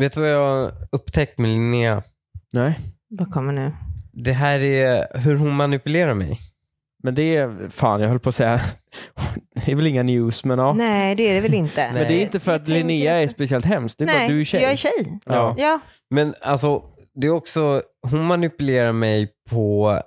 Vet du vad jag har upptäckt med Linnea? Nej. Vad kommer nu? Det här är hur hon manipulerar mig. Men det är, fan jag höll på att säga, det är väl inga news men ja. Nej, det är det väl inte. Men det är inte för Jag att tänker Linnea är också- speciellt hemskt. Det är bara Nej, att du är tjej. jag är tjej. Ja. Ja, Men alltså, det är också, hon manipulerar mig på,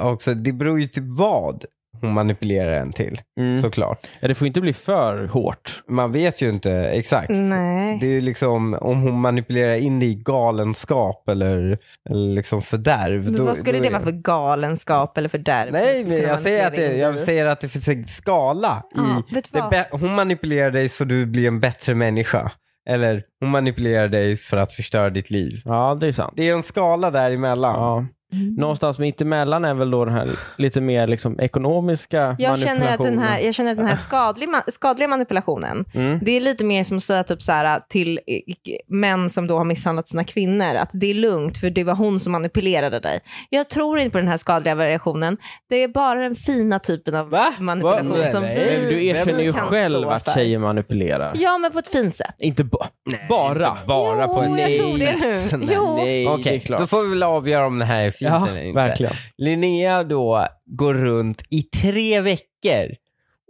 också, det beror ju till vad hon manipulerar en till Mm. såklart. ja, det får inte bli för hårt. Man vet ju inte exakt. nej. Det är ju liksom om hon manipulerar in det i galenskap eller, eller liksom fördärv. Men då- vad skulle då det är vara för galenskap eller för där? Nej, men jag säger, att det, jag säger att det finns en skala. Ja, i, vet du det vad? bä- hon manipulerar dig så du blir en bättre människa. Eller hon manipulerar dig för att förstöra ditt liv. Ja, det är sant. Det är en skala däremellan. Ja. Mm. Någonstans mitt emellan är väl då den här lite mer liksom ekonomiska Jag manipulationen. känner, att den här, jag känner att den här skadlig, ma- skadliga manipulationen, Mm. det är lite mer som att säga typ så här, till eh, män som då har misshandlat sina kvinnor, att det är lugnt för det var hon som manipulerade dig. Jag tror inte på den här skadliga variationen. Det är bara den fina typen av Va? manipulation Va? Nej, som nej. Men vi... du erkänner ju kan stå själv att för. tjejer manipulerar. Ja, men på ett fint sätt. Inte ba- bara. Inte bara jo, på ett jag nej. tror det sätt. nu. Nej. Jo. Nej, det är Okej, klart. då får vi väl avgöra om det här är fint ja, eller inte. verkligen. Linnea då går runt i tre veckor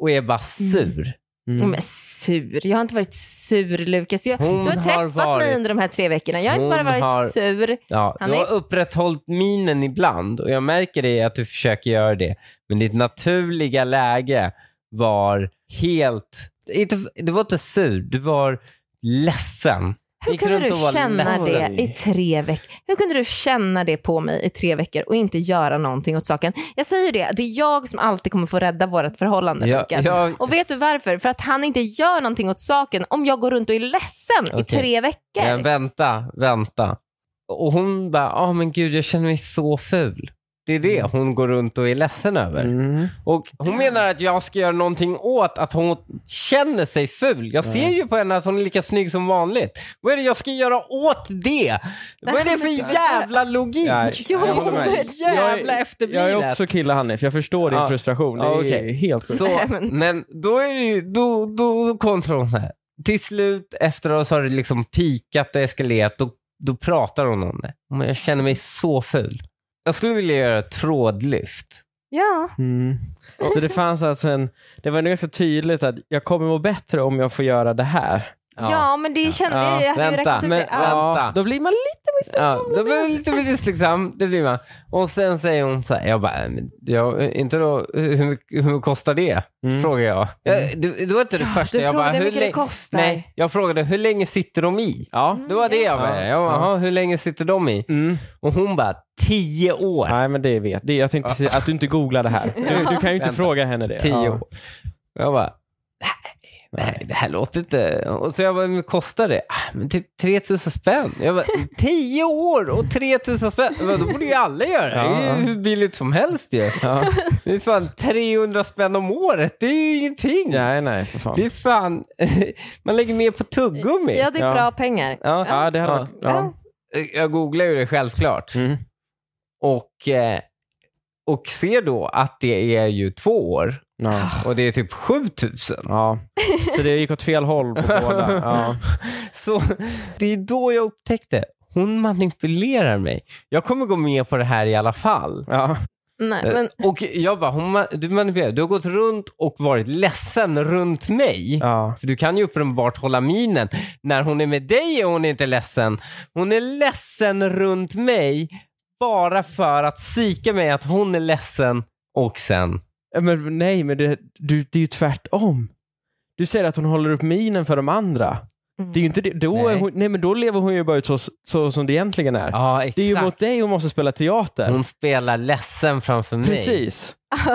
och är bara sur. Mm. Men sur. Jag har inte varit sur Lukas. Jag, du Hon har har träffat varit- mig under de här tre veckorna. Jag har inte Hon bara varit har- sur. Ja, Han du är- har upprätthållit minen ibland och jag märker det att du försöker göra det. Men ditt naturliga läge var helt... Inte, du var inte sur, du var ledsen. Hur Gick kunde runt och var du känna ledsen. det i tre veckor? Hur kunde du känna det på mig i tre veckor och inte göra någonting åt saken? Jag säger ju det, det är jag som alltid kommer få rädda vårt förhållande Ja, Lukas. ja. Och vet du varför? För att han inte gör någonting åt saken om jag går runt och är ledsen i Okej. tre veckor. Men vänta, vänta. Och hon bara, ja men gud jag känner mig så ful. Det är Mm. det hon går runt och är ledsen över. Mm. Och hon menar att jag ska göra någonting åt att hon känner sig ful. Jag ser ju på henne att hon är lika snygg som vanligt. Vad är det jag ska göra åt det? Vad är det för jävla logik? Nej, Jo, det jag är håller med. så jävla Jag är efterblivet. också kille Hanif, jag förstår din Ja. frustration. Det Ja, är okej. helt sjukt. Så, Nej, men- men då är det ju, då, då kontrar hon så här. Till slut efteråt så har det liksom pikat och eskalerat. Då, då pratar hon om det. Hon bara, jag känner mig så ful. Jag skulle vilja göra ett trådlyft. Ja, Mm. Så det fanns alltså en, det var nog ganska tydligt att jag kommer må bättre om jag får göra det här. ja. men det kände Ja, jag. Jag hade ju vänta, räknat ut men- det. Ja. Vänta. då blir man lite misstänksam. Ja, då blir man lite misstänksam. Det blir man. Och sen säger hon så här, jag bara, "Nej, men jag, inte då, hur, mycket- hur mycket kostar det? Mm. Frågar jag. jag det, det var inte det första. Du jag bara, frågade hur mycket det länge- kostar. Nej, jag frågade hur länge sitter de i? Ja. Mm. Det var det jag Ja. menade. Jag bara, Ja. "Jaha, hur länge sitter de i? Mm. Och hon bara, tio år. Nej men det vet det, jag tänkte precis att du inte googlar det här. Du, du kan ju inte Vänta. fråga henne det. Tio Ja. år. Jag bara, nej, nej, det här låter inte... Och så jag bara, men kostar det? "Ah, Men typ 3000 spänn. Jag bara, tio år och 3000 spänn? Jag bara, då borde ju alla göra det. Det är Ja. ju hur billigt som helst ju. Ja. Det är fan 300 spänn om året. Det är ju ingenting. Nej nej för fan. Det är fan... Man lägger mer på tuggummi. ja, det är Ja. bra pengar. Ja. Ja det hade Ja. varit... Ja. Jag googlar ju det självklart. Mm. Och, eh, och ser då att det är ju två år. Ja. Och det är typ 7000. ja. Så det gick åt fel håll på båda. Ja. Så det är då jag upptäckte. Hon manipulerar mig. Jag kommer gå med på det här i alla fall. Eh, Ja. Nej, Eh, men, Och jag bara, hon, ma- du manipulerar. Du har gått runt och varit ledsen runt mig. Ja. För du kan ju uppenbart hålla minen. När hon är med dig är hon inte ledsen. Hon är ledsen runt mig bara för att psyka mig att hon är ledsen och sen... Ja, Men nej, men det, du, det är ju tvärtom. Du säger att hon håller upp minen för de andra. Det är ju inte det. Då, Nej. Är hon, nej, men då lever hon ju bara ut så, så som det egentligen är. Ja, exakt. Mm, det är ju mot dig hon måste spela teater. Hon spelar ledsen framför mig. Precis.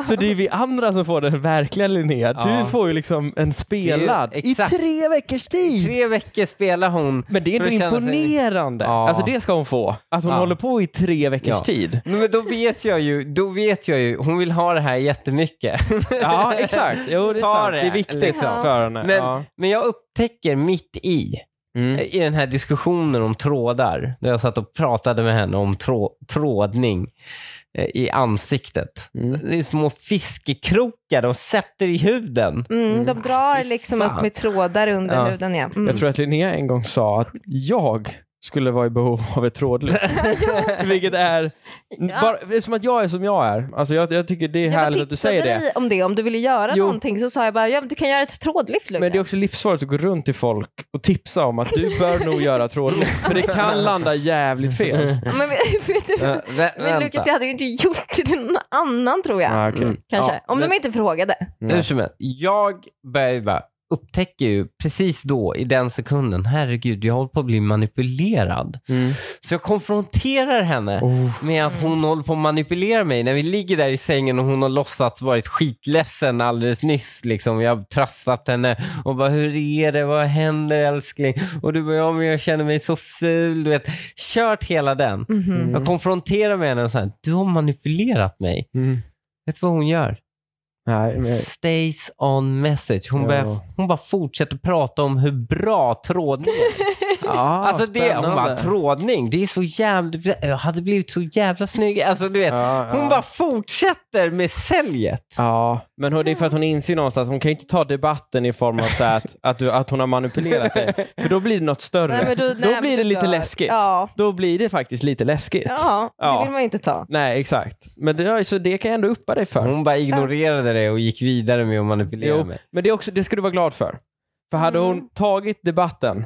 Så det är vi andra som får den verkliga Linnea. Ja. Du får ju liksom en spelad Det är ju- exakt. i tre veckors tid. Tre veckor spelar hon. Men det är för ändå att känna sig- imponerande. Ja. Alltså det ska hon få. Att hon Ja. håller på i tre veckors Ja. tid. Nej, Men då vet jag ju, då vet jag ju, hon vill ha det här jättemycket. Ja, exakt. Jo, det är Ta sant. det, Det är viktigt liksom. för henne. Men, ja. men jag upptäcker mitt i, Mm. i den här diskussionen om trådar, när jag satt och pratade med henne om trå, trådning eh, i ansiktet. Mm. Det är små fiskekrokar de sätter i huden. mm, de drar liksom Fan. upp med trådar under Ja. huden. Ja. Mm. Jag tror att Linnea en gång sa att jag skulle vara i behov av ett trådlyft. Vilket är, Ja. bara, det är som att jag är som jag är. Alltså jag, jag tycker det är Jag bara härligt att du tipsade säger det. dig om det. Om du ville göra Jo. någonting så sa jag bara, ja, men du kan göra ett trådlyft Men det är Lukas. också livsfarligt att gå runt till folk och tipsa om att du bör nog göra trådlyft. För det kan landa jävligt fel. Ja, Men, vet du, Eh, Vä- vä- men Lukas, jag hade ju inte gjort det till någon annan tror jag. Ah, okej. Mm. Kanske. Ja, om men- de inte frågade. Nej. Hur som helst, jag började ju bara upptäcker ju precis då, i den sekunden, herregud, jag håller på att bli manipulerad. Mm. Så jag konfronterar henne Oh. med att hon håller på att manipulera mig. När vi ligger där i sängen och hon har låtsats varit skitledsen alldeles nyss. Liksom. Jag har trasslat henne och bara, hur är det? Vad händer älskling? Och du bara, ja, men jag känner mig så ful. Du vet, kört hela den. Mhm. Jag konfronterar med henne och säger, du har manipulerat mig. Mm. Vet du vad hon gör? Nej, men... Stays on message. Hon, Ja. börjar, hon bara fortsätter prata om hur bra trådning är. Ah, alltså det, hon bara, spännande. trådning, det är så jävla, jag hade blivit så jävla snygg. Alltså du vet, Ja, ja. hon bara fortsätter med säljet. Ja, men hon- det är för att hon inser någonstans att hon kan inte ta debatten i form av så här att, att, du, att hon har manipulerat dig. För då blir det något större. Nej, men då, nej, blir det men lite dör. läskigt. Ja. Då blir det faktiskt lite läskigt. Ja, det Ja. vill man ju inte ta. Nej, exakt. Men det, ja, så det kan jag ändå uppa dig för. Hon bara ignorerade det och gick vidare med att manipulera Jo, mig. men det, är också, det ska du vara glad för. För hade Mm. hon tagit debatten,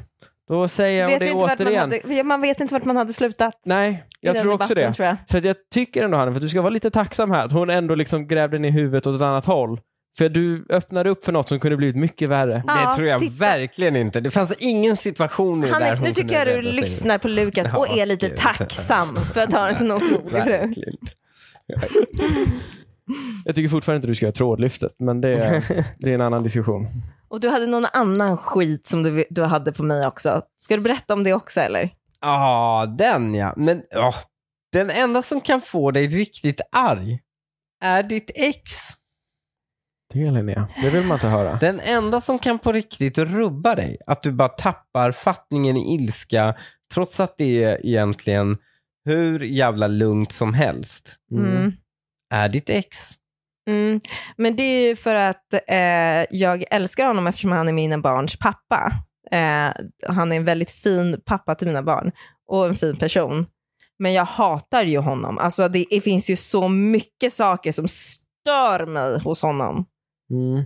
då säger jag Vet det vi inte vart man, återigen. hade, man vet inte vart man hade slutat. i Nej, jag den tror också debatten, det. Tror jag. Så att jag tycker ändå Hanna, för att du ska vara lite tacksam här, att hon ändå liksom grävde ner huvudet åt ett annat håll. För du öppnade upp för något som kunde blivit mycket värre. Ja, det tror jag titta. verkligen inte. Det fanns ingen situation i det där Hanif, hon nu tycker jag kunde du rädda sig. lyssnar på Lukas och Ja, är lite gud. tacksam för att ha en sån otrolig fru. Verkligen. Jag tycker fortfarande inte du ska göra trådlyftet, men det är, det är en annan diskussion. Och du hade någon annan skit som du, du hade på mig också. Ska du berätta om det också eller? Ja, den ja. Men ja, den enda som kan få dig riktigt arg är ditt ex. Det Linnea, det vill man inte höra. Den enda som kan på riktigt rubba dig. Att du bara tappar fattningen i ilska trots att det är egentligen hur jävla lugnt som helst. Mm. Mm. Är ditt ex. Mm. Men det är ju för att eh, jag älskar honom eftersom han är mina barns pappa. Eh, han är en väldigt fin pappa till mina barn och en fin person. Men jag hatar ju honom. Alltså det, det finns ju så mycket saker som stör mig hos honom. Mm.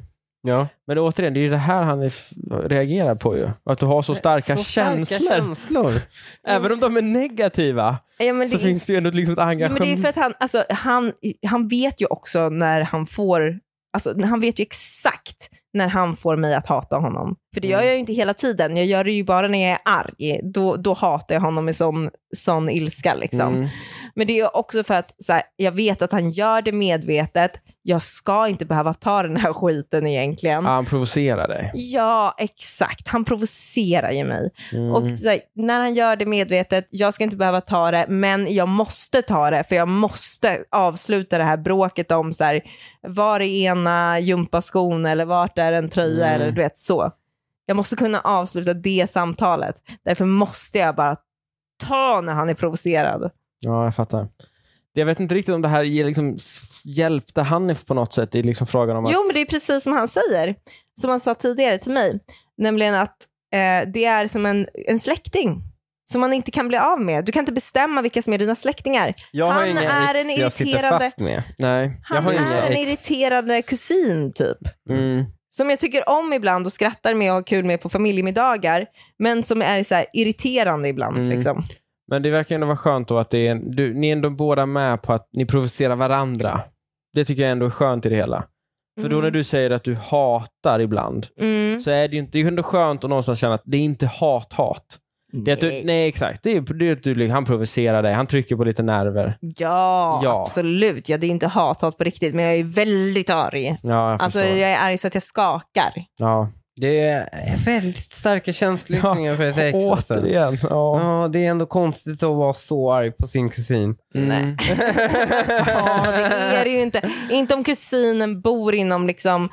Ja. Men återigen, det är ju det här han är f- reagerar på ju. Att du har så starka Så starka känslor. känslor. Även om de är negativa Ja, men så det, finns det ju ändå ett- liksom ett ja, men det är engagemang. ju för att han, alltså, han, han vet ju också när han får, alltså, han vet ju exakt när han får mig att hata honom. För det Mm. gör jag ju inte hela tiden, jag gör det ju bara när jag är arg. Då, då hatar jag honom i sån, sån ilska. Liksom. Mm. Men det är ju också för att så här, jag vet att han gör det medvetet. Jag ska inte behöva ta den här skiten egentligen. Ja, han provocerar dig. Ja, exakt. Han provocerar ju mig. Mm. Och så här, när han gör det medvetet, jag ska inte behöva ta det, men jag måste ta det för jag måste avsluta det här bråket om så här, var är ena gympaskon eller vart är en tröja Mm. eller du vet så. Jag måste kunna avsluta det samtalet. Därför måste jag bara ta när han är provocerad. Ja, jag fattar. Jag vet inte riktigt om det här ger liksom hjälpte Hanif på något sätt i liksom frågan om att... Jo, men det är precis som han säger, som han sa tidigare till mig, nämligen att eh, det är som en, en släkting som man inte kan bli av med. Du kan inte bestämma vilka som är dina släktingar. Jag har Han inga är ex en jag sitter irriterande- fast med. Nej. Jag Han har inga är en ex. irriterande kusin typ. Mm. Som jag tycker om ibland och skrattar med och har kul med på familjemiddagar. Men som är så här irriterande ibland. Mm. Liksom. Men det verkar ändå vara skönt då att det är en, du, ni är ändå båda med på att ni provocerar varandra. Det tycker jag ändå är skönt i det hela. För då när du säger att du hatar ibland, Mm. så är det ju inte, det är ju ändå skönt att någonstans känna att det är inte hat-hat. Det är att du, Nej. nej, exakt. Det är, det är att du, liksom- han provocerar dig, han trycker på lite nerver. Ja, Ja. absolut. Ja, det är inte hat-hat på riktigt, men jag är väldigt arg. Ja, jag Alltså, förstår. jag är arg så att jag skakar. Ja. Det är väldigt starka känsloyttringar för ett ex. alltså. Återigen. Ja. Ja, det är ändå konstigt att vara så arg på sin kusin. Mm. Ja, det är det ju inte. Inte om kusinen bor inom liksom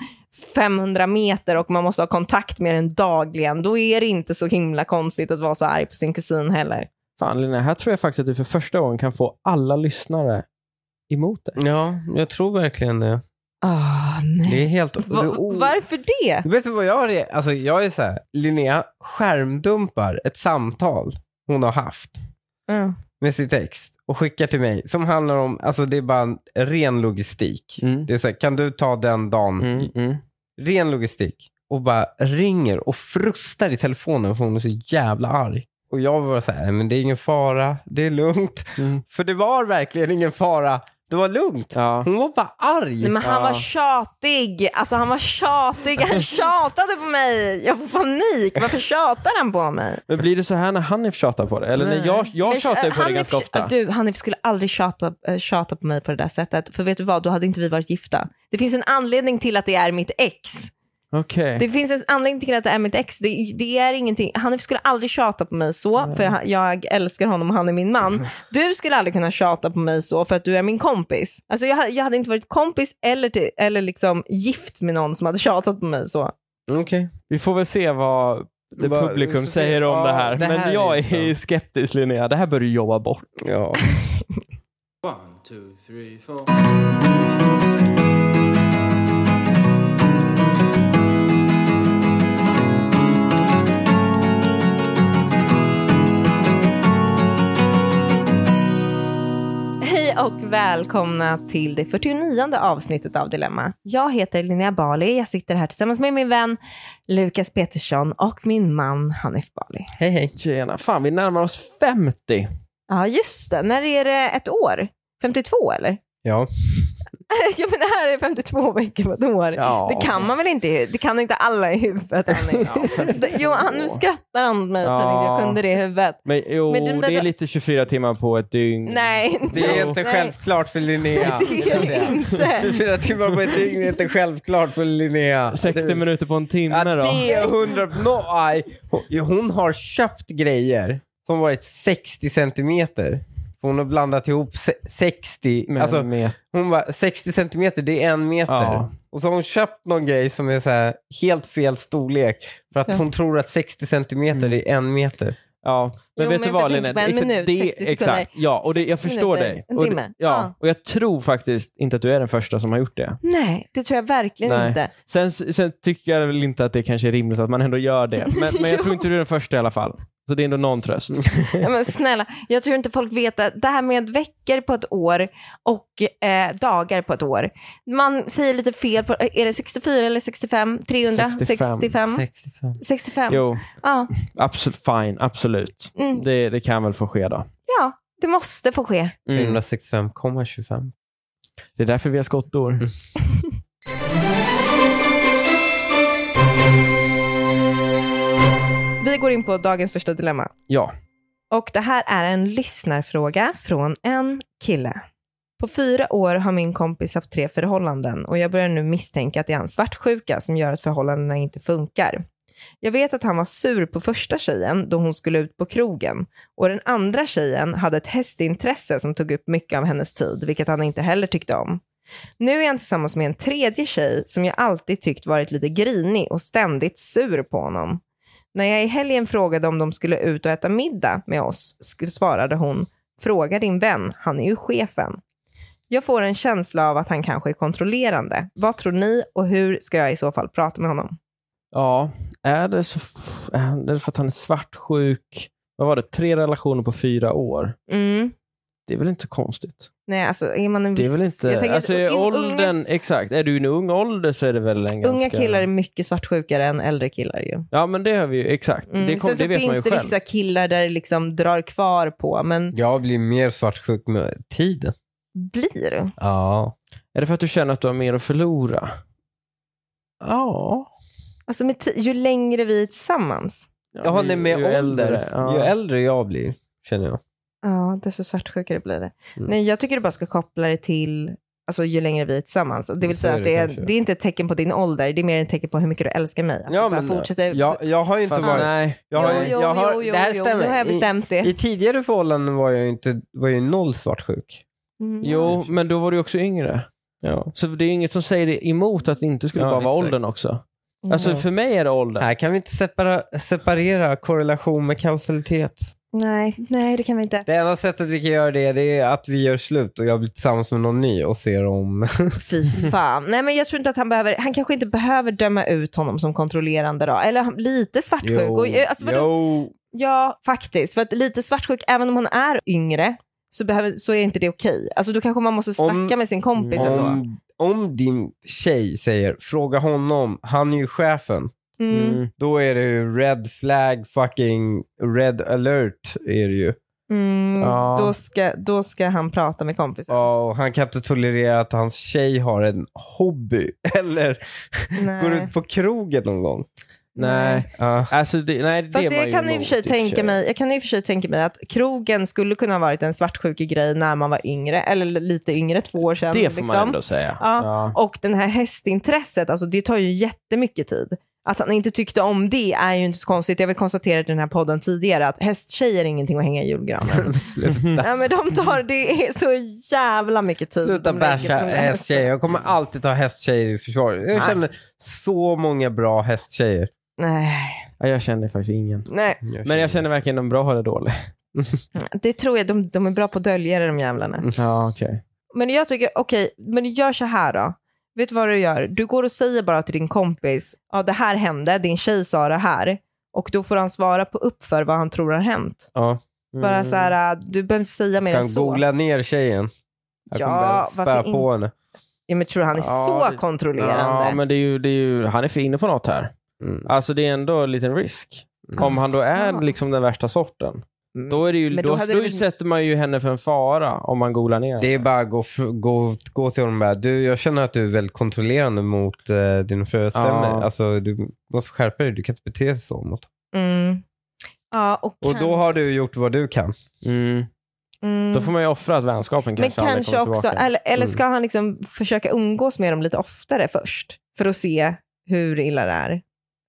500 meter och man måste ha kontakt med den dagligen. Då är det inte så himla konstigt att vara så arg på sin kusin heller. Fan Linnea, här tror jag faktiskt att du för första gången kan få alla lyssnare emot dig. Ja, jag tror verkligen det. Ah, nej. Det är helt... Va- det är o- varför det? Vet du vad jag är? Alltså jag är så här, Linnea skärmdumpar ett samtal hon har haft Mm. med sin text och skickar till mig som handlar om, alltså det är bara en ren logistik. Mm. Det är så här, kan du ta den dagen? Mm, mm. Ren logistik. Och bara ringer och frustar i telefonen för hon är så jävla arg. Och jag var så här, men det är ingen fara, det är lugnt. Mm. För det var verkligen ingen fara, det var lugnt. Ja. Hon var bara arg. Nej, men han Ja. var tjatig. Alltså han var tjatig. Han tjatade på mig. Jag får panik. Varför tjatar han på mig? Men blir det så här när Hanif tjatar på det? Eller Nej. när jag, jag Men, tjatar ju på det Hanif- ganska ofta. Du, Hanif skulle aldrig tjata, eh, tjata på mig på det där sättet. För vet du vad, då hade inte vi varit gifta. Det finns en anledning till att det är mitt ex. Okej. Det finns en anledning till att det är mitt ex. Det, det är ingenting. Hanif skulle aldrig tjata på mig så, för jag, jag älskar honom och han är min man. Du skulle aldrig kunna tjata på mig så, för att du är min kompis. Alltså jag, ha- jag hade inte varit kompis eller, till, eller liksom gift med någon som hade tjatat på mig så. Mm, Okej. Vi får väl se vad det Vad- publikum vi får se. säger om Ja, det här. det här Men jag är liksom- är ju skeptisk Linnea. Det här bör du jobba bort. Ja. One, two, three, four. Hej och välkomna till det 49 avsnittet av Dilemma. Jag heter Linnea Bali. Jag sitter här tillsammans med min vän Lukas Petersson och min man Hanif Bali. Hej hej. Tjena. Fan, vi närmar oss 50. Ja, just det. När är det ett år? 52 eller? Ja. Ja, men det här är 52 veckor på ett år. Ja. Det kan man väl inte? Det kan inte alla i huvudet. Annie. jo, han- nu skrattar han åt mig för att Ja. jag kunde det i huvudet. Men jo, Men du- det är lite 24 timmar på ett dygn. Mm. Nej, Det är nej, inte nej. självklart för Linnea. Det är det inte. 24 timmar på ett dygn är inte självklart för Linnea. 60 Det- minuter på en timme Ja, då. det är 100... No, aj. Hon- Hon har köpt grejer som varit 60 centimeter. För hon har blandat ihop se- 60... Men alltså, med- hon bara, 60 centimeter, det är en meter. Ja. Och så har hon köpt någon grej som är så här, helt fel storlek. För att Ja. hon tror att 60 Mm. centimeter är en meter. Ja, men Jo, vet men du för att vad det Linnea? inte var en Exakt, minut, 60 sekunder. exakt, ja, och det, jag 60 förstår minuter, dig. en och, det- timme. Ja, Ja. och jag tror faktiskt inte att du är den första som har gjort det. Nej, det tror jag verkligen Nej. inte. Sen, sen tycker jag väl inte att det kanske är rimligt att man ändå gör det. Men, men jag tror inte du är den första i alla fall. Så det är ändå någon tröst. Ja, men snälla, jag tror inte folk vet att det här med veckor på ett år och eh, dagar på ett år. Man säger lite fel. På, eh, är det 64 eller 65? 300? 65. 65? 65. 65. Jo, Ja, absolut, fine, absolut. Mm. Det, det kan väl få ske då. ja, det måste få ske. Mm. 365,25. Det är därför vi har skottor. Vi går in på dagens första dilemma. Ja. Och det här är en lyssnarfråga från en kille. På fyra år har min kompis haft tre förhållanden och jag börjar nu misstänka att det är hans svartsjuka som gör att förhållandena inte funkar. Jag vet att han var sur på första tjejen då hon skulle ut på krogen och den andra tjejen hade ett hästintresse som tog upp mycket av hennes tid, vilket han inte heller tyckte om. Nu är han tillsammans med en tredje tjej som jag alltid tyckt varit lite grinig och ständigt sur på honom. När jag i helgen frågade om de skulle ut och äta middag med oss sk- svarade hon, fråga din vän, han är ju chefen. Jag får en känsla av att han kanske är kontrollerande. Vad tror ni och hur ska jag i så fall prata med honom? Ja, är det, så, är det för att han är svartsjuk? Vad var det? Tre relationer på fyra år. Mm. Det är väl inte så konstigt? Nej, alltså är man en Det viss... är väl jag inte... tänker att Alltså, är un- unga, åldern, exakt. Är du i en ung ålder så är det väl en unga ganska... killar är mycket svartsjukare än äldre killar ju. Ja, men det har vi ju. Exakt. Mm. Det, kom, Sen så det vet finns man ju det själv. vissa killar där det liksom drar kvar på, men Jag blir mer svartsjuk med tiden. blir. Ja. Är det för att du känner att du har mer att förlora? Ja. Alltså med ti- ju längre vi är tillsammans, Ja, ju- nej, med ju ålder. äldre, ja. Ju äldre jag blir, känner jag. Ja, desto svartsjukare blir det. Mm. Nej, jag tycker du bara ska koppla det till alltså, ju längre vi är tillsammans. Det vill Så säga är att det det är, kanske. det är inte ett tecken på din ålder, det är mer ett tecken på hur mycket du älskar mig. Att du bara fortsätter. jag, jag har ju inte Fast varit... nej. Jag har, jo, jo, jag har, jo, jo, det här jo, stämmer. nu har jag bestämt det. I, I tidigare förhållanden var jag ju inte, var jag ju noll svartsjuk. Mm. Jo, men då var du också yngre. Ja. Så det är inget som säger emot att det inte skulle Ja, bara vara exakt. åldern också. Mm. Alltså för mig är det åldern. Här kan vi inte separa, separera korrelation med kausalitet. Nej, nej, det kan vi inte. Det enda sättet vi kan göra det, det är att vi gör slut och jag blir tillsammans med någon ny och ser om... Fy fan. Nej, men jag tror inte att han behöver, han kanske inte behöver döma ut honom som kontrollerande då. Eller han- lite svartsjuk. Och, eh, alltså, vadå? jo. Ja, faktiskt. För att lite svartsjuk, även om hon är yngre, så, behöver, så är inte det okej. Alltså då kanske man måste snacka Om- med sin kompis ändå. Om, om din tjej säger “fråga honom, han är ju chefen”, Mm. Mm. då är det ju red flag fucking red alert är det ju. Ja. mm. Då, ska, då ska han prata med kompisen. Ja, och han kan inte tolerera att hans tjej har en hobby eller Nej. går ut på krogen någon gång. Nej, Ja. alltså det, nej, det Fast var jag ju typ- kan, i och emot för sig tänka mig, jag kan i och för sig tänka mig att krogen skulle kunna ha varit en svartsjukig grej när man var yngre, eller lite yngre, två år sedan. Det får liksom. man ändå säga. Ja. Ja. Och den här hästintresset, alltså det tar ju jättemycket tid. Att han inte tyckte om det är ju inte så konstigt. Jag har väl konstaterat i den här podden tidigare att hästtjejer är ingenting att hänga i julgranen. Sluta, Nej men de tar, det är så jävla mycket tid. sluta de lägger på basha det här. hästtjejer. Jag kommer alltid ta hästtjejer i försvar. Jag känner så många bra hästtjejer. Nej, Ja, Jag känner faktiskt ingen. nej, Men jag känner varken de bra eller dåliga. det tror jag. De, de är bra på att dölja det de jävlarna. Mm. Ja, okej. Men jag tycker, okej, men du gör så här då. Vet du vad du gör? Du går och säger bara till din kompis, ja det här hände, din tjej sa det här. Och då får han svara på upp för vad han tror har hänt. Ja. Bara Mm. så här, äh, du behöver inte säga mer Ska än han så. googla ner tjejen? Jag Ja, kommer bara varför spä inte? på henne. Ja, men tror du han är Ja, så det- kontrollerande? Ja, men det är ju, det är ju, han är för inne på något här. Mm. Alltså det är ändå en liten risk. Mm. Om han då är Ja. liksom den värsta sorten. Mm. Då, är det ju, Men då, då då, hade det väl- sätter man ju henne för en fara om man googlar ner Det är henne. bara att gå, f- gå, gå till honom och bara, du jag känner att du är väldigt kontrollerande mot eh, din föreställning. Ja. Alltså, du måste skärpa dig, du kan inte bete dig så mot Mm. Ja, och, Och kanske- då har du gjort vad du kan. Mm. mm. Då får man ju offra att vänskapen Men kanske aldrig kanske kommer också, tillbaka. eller, eller Mm. ska han liksom försöka umgås med dem lite oftare först? För att se hur illa det är.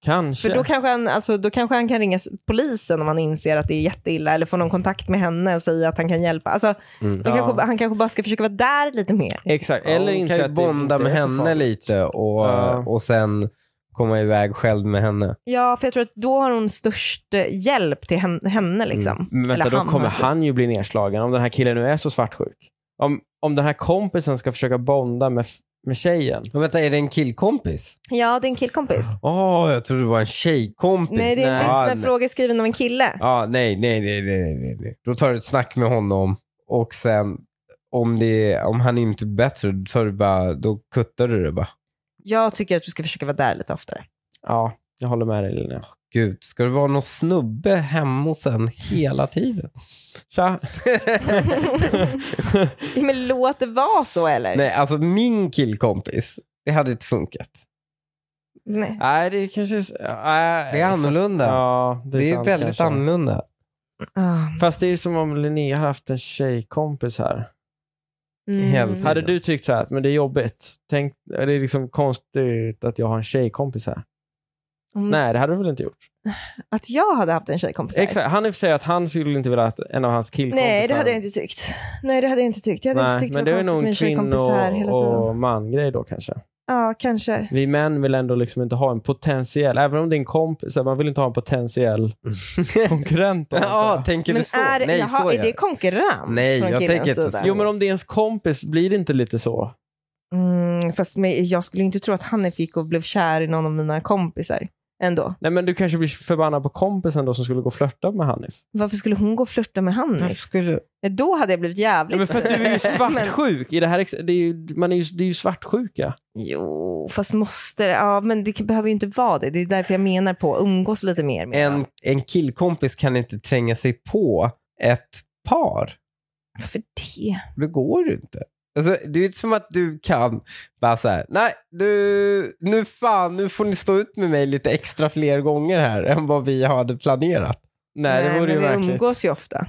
Kanske. För då kanske, han, alltså, då kanske han kan ringa s- polisen om han inser att det är jätteilla eller få någon kontakt med henne och säga att han kan hjälpa. Alltså, Mm. då Ja. kanske, han kanske bara ska försöka vara där lite mer. Exakt. Ja, Eller hon inse kan ju att det bonda inte med är så henne farligt. lite och, Ja. och sen komma iväg själv med henne. Ja, för jag tror att då har hon störst eh, hjälp till hen- henne. Liksom. Men Mm. vänta, Eller då han kommer har stort. han ju bli nedslagen om den här killen nu är så svartsjuk. Om, om den här kompisen ska försöka bonda med, med tjejen. Och vänta, är det en killkompis? Ja, det är en killkompis. Åh, jag trodde det var en tjejkompis. Nej, det är en Nej. lyssnarfråga skriven av en kille. Typ. Ja, nej, nej, nej, nej, nej, nej, nej. Då tar du ett snack med honom och sen om, det, är- om han inte är bättre, då, tar du bara, då kuttar du det bara. Jag tycker att du ska försöka vara där lite oftare. Ja, jag håller med dig Linnea. Gud, ska det vara någon snubbe hemma hos en hela tiden? Tja. Men låt det vara så eller? nej, alltså min killkompis, det hade inte funkat. Nej. Nej, det kanske är... s- Nej, Det är annorlunda. Fast, ja, det Det är, är, sant, väldigt kanske. annorlunda. Ah, Fast det är ju som om Linnea har haft en tjejkompis här. Helt Mm. sant. Hade du tyckt så här, att, men det är jobbigt. Tänk, är det är liksom konstigt att jag har en tjejkompis Mm. här. Om- Nej, det hade du väl inte gjort? Mm. Att jag hade haft en tjejkompis här. Exakt. Han i och för sig att han skulle inte vilja att en av hans killkompisar... Nej, det hade jag inte tyckt. Nej, det hade jag inte tyckt. Jag hade Nej, inte tyckt men det det var är konstigt nog med en en kvinno tjejkompis här hela tiden. och man-grej då kanske. Ja, kanske. Vi män vill ändå liksom inte ha en potentiell, även om det är en kompis, så här, man vill inte ha en potentiell konkurrent. då, antar jag. ja, tänker Men du så? är, nej, jaha, så är jag. det konkurrens Nej, från jag killens tänker inte sida? så. Jo, men om det är ens kompis, blir det inte lite så? Mm, fast med, jag skulle ju inte tro att han fick och blev kär i någon av mina kompisar ändå. Nej, men du kanske blir förbannad på kompisen då som skulle gå och flörta med Hanif. Varför skulle hon gå och flörta med han? Varför skulle... Då hade jag blivit jävligt... Ja, men för att du är ju Men- svartsjuk. I det här, ex- det är ju, man är ju, det är ju svartsjuka. Jo, fast måste det? Ja, men det behöver ju inte vara det. Det är därför jag menar på att umgås lite mer med en, varandra. en killkompis kan inte tränga sig på ett par. Varför det? Det går ju inte. Alltså, det är ju inte som att du kan bara så här, nej, du, nu fan, nu får ni stå ut med mig lite extra fler gånger här än vad vi hade planerat. Nej, det vore men ju vi verkligt. umgås ju ofta.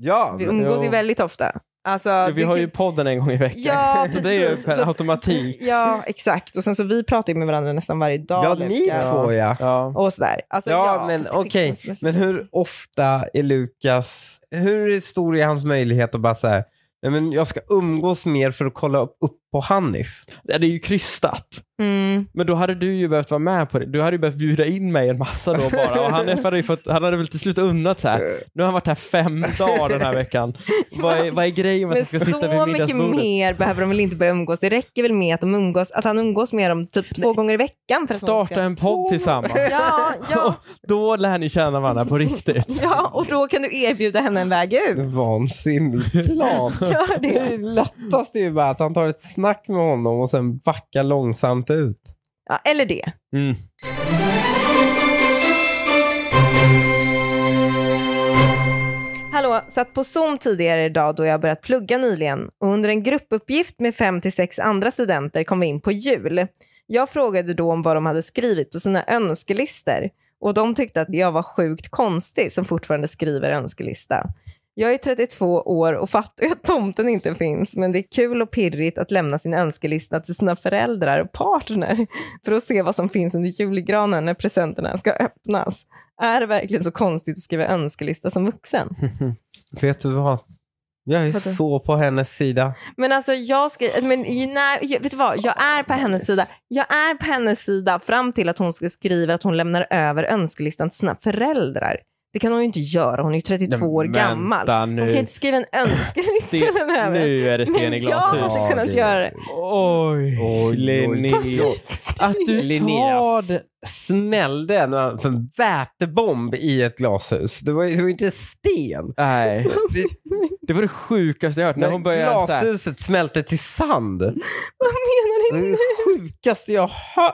Ja, Vi men- umgås ju Jo. väldigt ofta. Alltså, Vi det har kan- ju podden en gång i veckan. Ja, så det är ju precis. per Så- automatik. Ja, exakt. Och sen så vi pratar ju med varandra nästan varje dag. ja ni Lukas. två ja. Ja. Och sådär. Alltså, ja, Alltså, men fast det okej. skickas mest- Men hur ofta är Lukas, hur stor är hans möjlighet att bara säga nej men jag ska umgås mer för att kolla upp, upp på Hanif. Ja, Det är ju krystat. Mm. Men då hade du ju behövt vara med på det. Du hade ju behövt bjuda in mig en massa då bara. Och han, hade ju fått, han hade väl till slut unnat så Eh, här. Nu har han varit här fem dagar den här veckan. Vad är, vad är grejen med Men att jag ska sitta så vid mycket middagsbordet? mer behöver de väl inte börja umgås? Det räcker väl med att, de umgås, att han umgås med dem typ två gånger i veckan? För att hon Starta ska... en podd tillsammans. Ja, ja, Då lär ni känna varandra på riktigt. ja, och då kan du erbjuda henne en väg ut. Vansinnig plan. Gör det. Det lättaste är ju bara att han tar ett snack med honom och sen backar långsamt ut. Ja, eller det. Mm. Hallå, satt på Zoom tidigare idag då jag börjat plugga nyligen och under en gruppuppgift med fem till sex andra studenter kom vi in på jul. Jag frågade då om vad de hade skrivit på sina önskelister och de tyckte att jag var sjukt konstig som fortfarande skriver önskelista. Jag är 32 år och fattar ju att tomten inte finns men det är kul och pirrigt att lämna sin önskelista till sina föräldrar och partner för att se vad som finns under julgranen när presenterna ska öppnas. Är det verkligen så konstigt att skriva önskelista som vuxen? Vet du vad? Jag är Vadå? så på hennes sida. Men alltså jag ska, men i- nej, jag- vet du vad, jag är på hennes sida. Jag är på hennes sida fram till att hon ska skriva att hon lämnar över önskelistan till sina föräldrar. Det kan hon ju inte göra, hon är ju 32 år Vänta gammal. Nu. Hon kan ju inte skriva en önskelista Sten- till henne över. nu är det sten i Men jag glashus. hade kunnat Ja, det- göra det. Oj, Oj, oj, Linnea. oj. Att du tar Linneas det. smällde en en vätebomb i ett glashus. Det var, ju- det var ju inte sten. Nej, det var det sjukaste jag hört. När hon började så här, glashuset smälte till sand. Vad menar Det ni? är det sjukaste jag hör.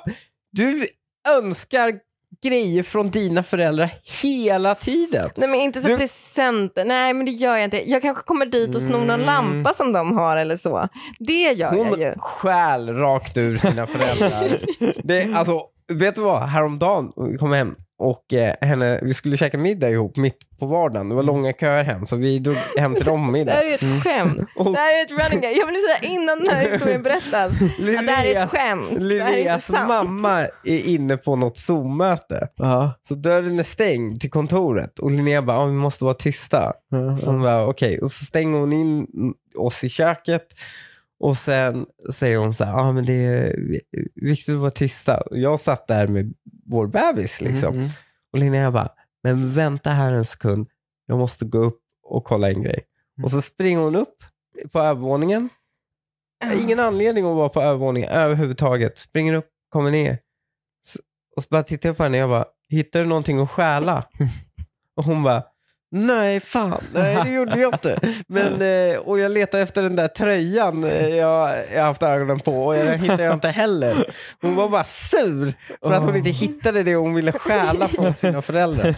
Du önskar grejer från dina föräldrar hela tiden. Nej men inte så Nu- presenter, nej men det gör jag inte. Jag kanske kommer dit och snor någon Mm. lampa som de har eller så. Det gör jag ju. Hon stjäl rakt ur sina föräldrar. Det, är- alltså, vet du vad? Häromdagen kom jag hem och eh, henne, vi skulle käka middag ihop mitt på vardagen. Det var långa köer hem så vi drog hem till dem Mm. Det här middag. är ju Mm. ett skämt. Och- Det här är ett running gag. Jag vill säga innan den här historien berättas. Ja, det här är ett skämt. Det här är inte Linneas sant. mamma är inne på något Zoom-möte. ja, Så dörren är stängd till kontoret och Linnea bara, "Ja, vi måste vara tysta. ja, Så hon bara, okej. Och så stänger hon in oss i köket. Och sen säger hon så här, ah, men det är viktigt att vara tysta. Och jag satt där med vår bebis liksom. Mm, mm. Och Linnea bara, men vänta här en sekund. Jag måste gå upp och kolla en grej. Och så springer hon upp på övervåningen. Ingen anledning att vara på övervåningen överhuvudtaget. Springer upp, kommer ner. Så- Och så bara tittar jag på henne och jag bara, hittar du någonting att stjäla? Och hon bara, nej fan, nej det gjorde jag inte. Men, eh, och jag letar efter den där tröjan eh, jag jag har haft ögonen på och den hittar jag inte heller. Hon var bara sur för att hon inte hittade det hon ville stjäla från sina föräldrar.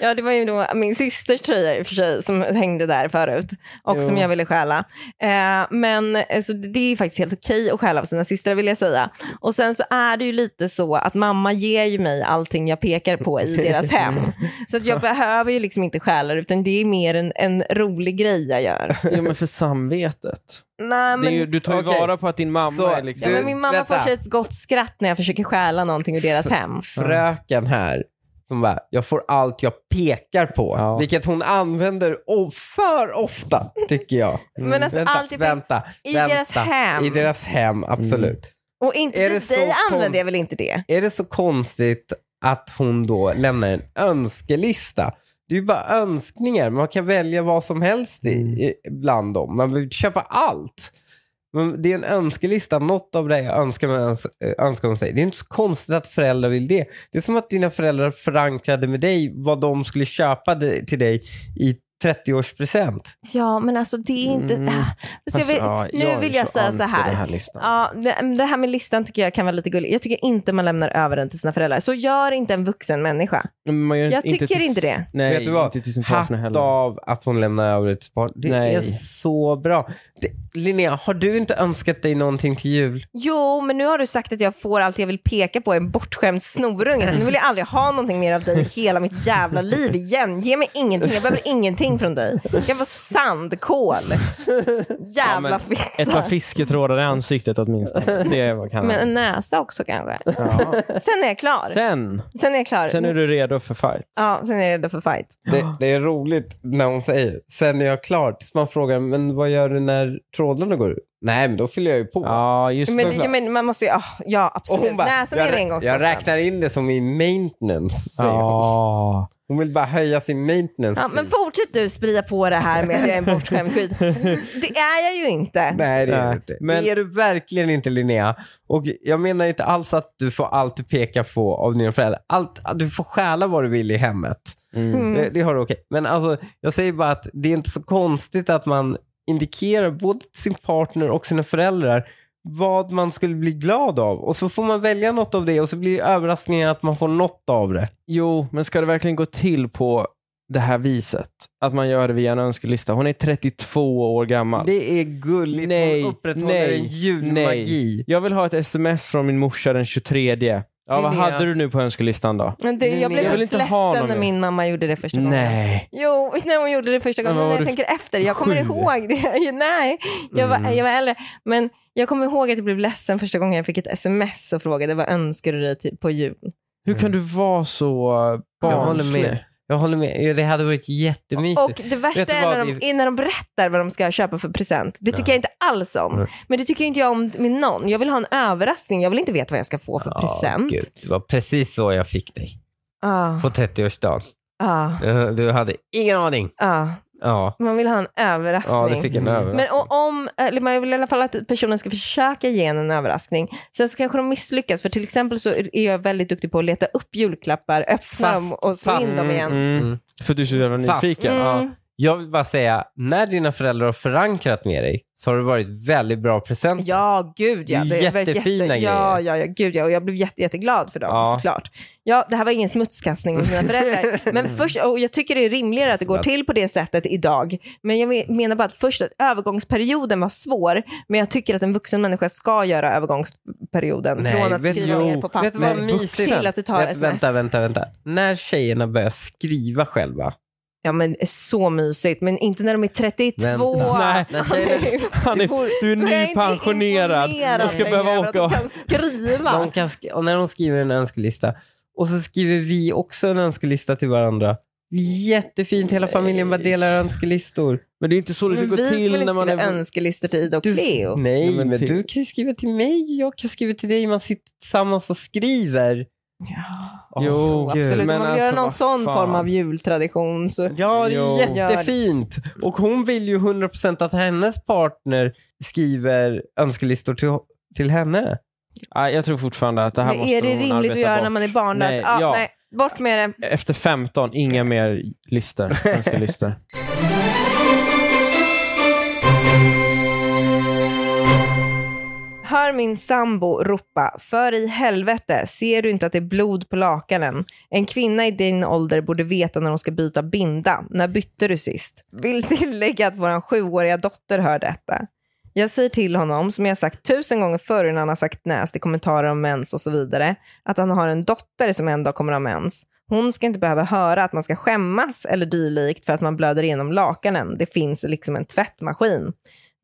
Ja, det var ju då min systers tröja i och för sig som hängde där förut och som Jo. jag ville stjäla. Eh, men eh, så det är ju faktiskt helt okej att stjäla av sina systrar vill jag säga. Och sen så är det ju lite så att mamma ger ju mig allting jag pekar på i deras hem. Så att jag behöver ju liksom inte stjäla utan det är mer en, en rolig grej jag gör. Jo, men för samvetet. Nej, men... det är ju, du tar ju Okej. vara på att din mamma Så, är liksom... Ja, du- men min mamma vänta. får sig ett gott skratt när jag försöker stjäla någonting ur deras hem. fröken här som bara, jag får allt jag pekar på. Ja. Vilket hon använder o- för ofta, tycker jag. Mm. Men alltså, vänta, allt jag pek- vänta, i vänta. deras hem. I deras hem, absolut. Och inte Är till det så dig kon- använder jag väl inte det? Är det så konstigt att hon då lämnar en önskelista? Det är ju bara önskningar. Man kan välja vad som helst i, i, bland dem. Man vill köpa allt. Men det är en önskelista. Något av det önskar, man, öns- eh, önskar hon sig. Det är inte så konstigt att föräldrar vill det. Det är som att dina föräldrar förankrade med dig vad de skulle köpa de, till dig i 30-årspresent. Ja, men alltså det är inte... Mm. Ah, så jag vill, Alltså, ja, nu är vill jag så säga anti så här. Den här liksom. listan. Ja, det, det här med listan tycker jag kan vara lite gulligt. Jag tycker inte man lämnar över den till sina föräldrar. Så gör inte en vuxen människa. Men man gör Jag tycker till- inte det. Nej, Vet du vad? inte till sin partner Hatt heller. av att hon lämnar över ett par. Det Nej. är så bra. Det, Linnea, har du inte önskat dig någonting till jul? Jo, men nu har du sagt att jag får allt jag vill peka på i en bortskämd snorunge. Så nu vill jag aldrig ha någonting mer av dig i hela mitt jävla liv igen. Ge mig ingenting. Jag behöver ingenting från dig. Jag vill vara sandkål. Jävla men Ett par fitta. fisketrådar i ansiktet åtminstone. Det var kan Men en näsa också kanske. ja. Sen är jag klar. Sen, Sen är jag klar. sen är du redo för fight. Ja, sen är jag redo för fight. Det, det är roligt när hon säger sen är jag klar tills man frågar men vad gör du när trådarna går ut? Nej, men då fyller jag ju på. Ja, just det. Men, ja, men man måste ju, ah, ja Och absolut. jag, Näsan är rä- en jag engångskostnad. räknar in det som i maintenance, säger hon. Ja. Hon vill bara höja sin maintenance. Ja, men fee. fortsätt du sprida på det här med att jag är en bortskämd skit. Det är jag ju inte. Nej, det är Nej, du inte. men- Det är du verkligen inte, Linnea. Och jag menar inte alls att du får allt du pekar på av dina föräldrar. Allt, du får stjäla vad du vill i hemmet. Mm. Mm. Det, det har du okej. Men alltså, jag säger bara att det är inte så konstigt att man indikerar både till sin partner och sina föräldrar vad man skulle bli glad av. Och så får man välja något av det och så blir överraskningen att man får något av det. Jo, men ska det verkligen gå till på det här viset? Att man gör det via en önskelista? Hon är 32 år gammal. Det är gulligt. Nej, Hon upprätthåller nej, en julmagi. Jag vill ha ett sms från min morsa den 23. Ja, vad Linnea. hade du nu på önskelistan då? Men det, jag blev Jag vill faktiskt inte ha ledsen någon när mer. min mamma gjorde det första gången. Nej. Jo, när hon gjorde det första gången. Men vad Men var jag du- tänker efter. Jag kommer sju? ihåg det. Nej, jag var, Mm. jag var äldre. Men jag kommer ihåg att jag blev ledsen första gången jag fick ett sms och frågade vad önskar du dig till- på jul? Hur Mm. kan du vara så Jag håller barnslig? med. Jag håller med. Det hade varit jättemysigt. Och det Vet värsta du är när vad, de, är när de berättar vad de ska köpa för present. Det tycker jag inte alls om. Nej. Men det tycker inte jag om med någon. Jag vill ha en överraskning. Jag vill inte veta vad jag ska få för Ja, present. gud. Det var precis så jag fick dig Ah, på 30-årsdagen. ah, Eh, Du hade ingen aning. ah. Ja, Man vill ha en överraskning. ja du fick en Men- överraskning. Men och om, eller man vill i alla fall att personen ska försöka ge en en överraskning. Sen så kanske de misslyckas, för till exempel så är jag väldigt duktig på att leta upp julklappar, öppna Fast- dem och slå fast- in dem igen. Mm. Mm. För du är så jävla Fast- nyfiken. Mm. Ja. Jag vill bara säga, när dina föräldrar har förankrat med dig så har det varit väldigt bra presenter. Ja, gud ja. Det är väl jättefina Ja, ja, ja, gud ja. Och jag blev jätte, jätteglad för dem Ja. såklart. Ja, det här var ingen smutskastning mot mina föräldrar. Men först, och jag tycker det är rimligare att det går till på det sättet idag. Men jag me- menar bara att först att övergångsperioden var svår. Men jag tycker att en vuxen människa ska göra övergångsperioden. Nej, från att vet- skriva jo, ner på vet du vad papper mysigt? till att det tar Vet- sms. Vänta, vänta, vänta. När tjejerna börjar skriva själva. Ja, men så mysigt. Men inte när de är 32. Vänta. Nej. När tjejerna, Han är, du är Då jag inte nypensionerad imponerad och ska längre behöva över att åka de och... kan skriva. de kan sk- och när de skriver en önskelista och så skriver vi också en önskelista till varandra. Jättefint, hela familjen bara delar önskelistor. Men det är inte så det ska Men gå vi skulle till inte när man skriva är... Mm. önskelistor till Ida och Cleo. Nej, Ja, men men, typ. till- du kan ju skriva till mig, jag kan skriva till dig, man sitter tillsammans och skriver. Åh, Jo, gud. Absolut, om men man vill alltså, göra någon vad sån fan. form av jultradition så... Ja, det är Jo. jättefint. Och hon vill ju 100% att hennes partner skriver önskelistor till, till henne. Nej, jag tror fortfarande att det här Men måste är det hon rimligt att arbeta göra bort. när man är barnlös? Nej, Nej, ja, ja. nej, bort med det. Efter 15, inga mer listor. önskelistor. Hör min sambo ropa, för i helvete, ser du inte att det är blod på lakanen? En kvinna i din ålder borde veta när hon ska byta binda. När bytte du sist? Vill tillägga att vår sjuåriga dotter hör detta. Jag säger till honom, som jag sagt tusen gånger förr när han har sagt näst i kommentarer om mens och så vidare, att han har en dotter som en dag kommer ha mens. Hon ska inte behöva höra att man ska skämmas eller dylikt för att man blöder igenom lakanen. Det finns liksom en tvättmaskin.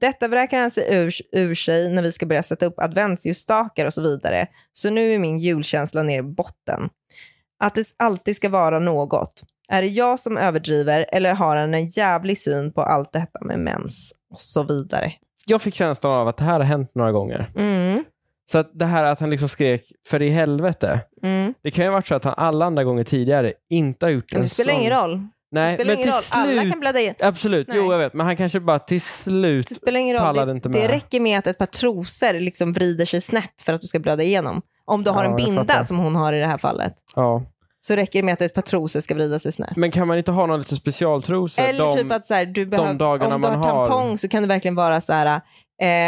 Detta vräker han sig ur, ur sig när vi ska börja sätta upp adventsljusstakar och så vidare. Så nu är min julkänsla ner i botten. Att det alltid ska vara något. Är det jag som överdriver eller har han en jävlig syn på allt detta med mens? Och så vidare. Jag fick känslan av att det här har hänt några gånger. Så att det här att han liksom skrek för i helvete. Det kan ju ha varit så att han alla andra gånger tidigare inte har gjort Men en det spelar sån... ingen roll. Nej, det spelar men ingen roll. till Alla slut... kan bläddra in. Absolut, Nej. jo jag vet. Men han kanske bara till slut... Det spelar ingen roll. Pallade Det, inte med. det räcker med att ett par trosor liksom vrider sig snett för att du ska blöda igenom. Om du har Ja, en jag binda fattar. som hon har i det här fallet Ja. så räcker det med att ett par trosor ska vrida sig snett. Men kan man inte ha någon lite specialtrosor? Eller De- typ att så här, du behöver, dagarna om du man har har- tampong så kan det verkligen vara så här,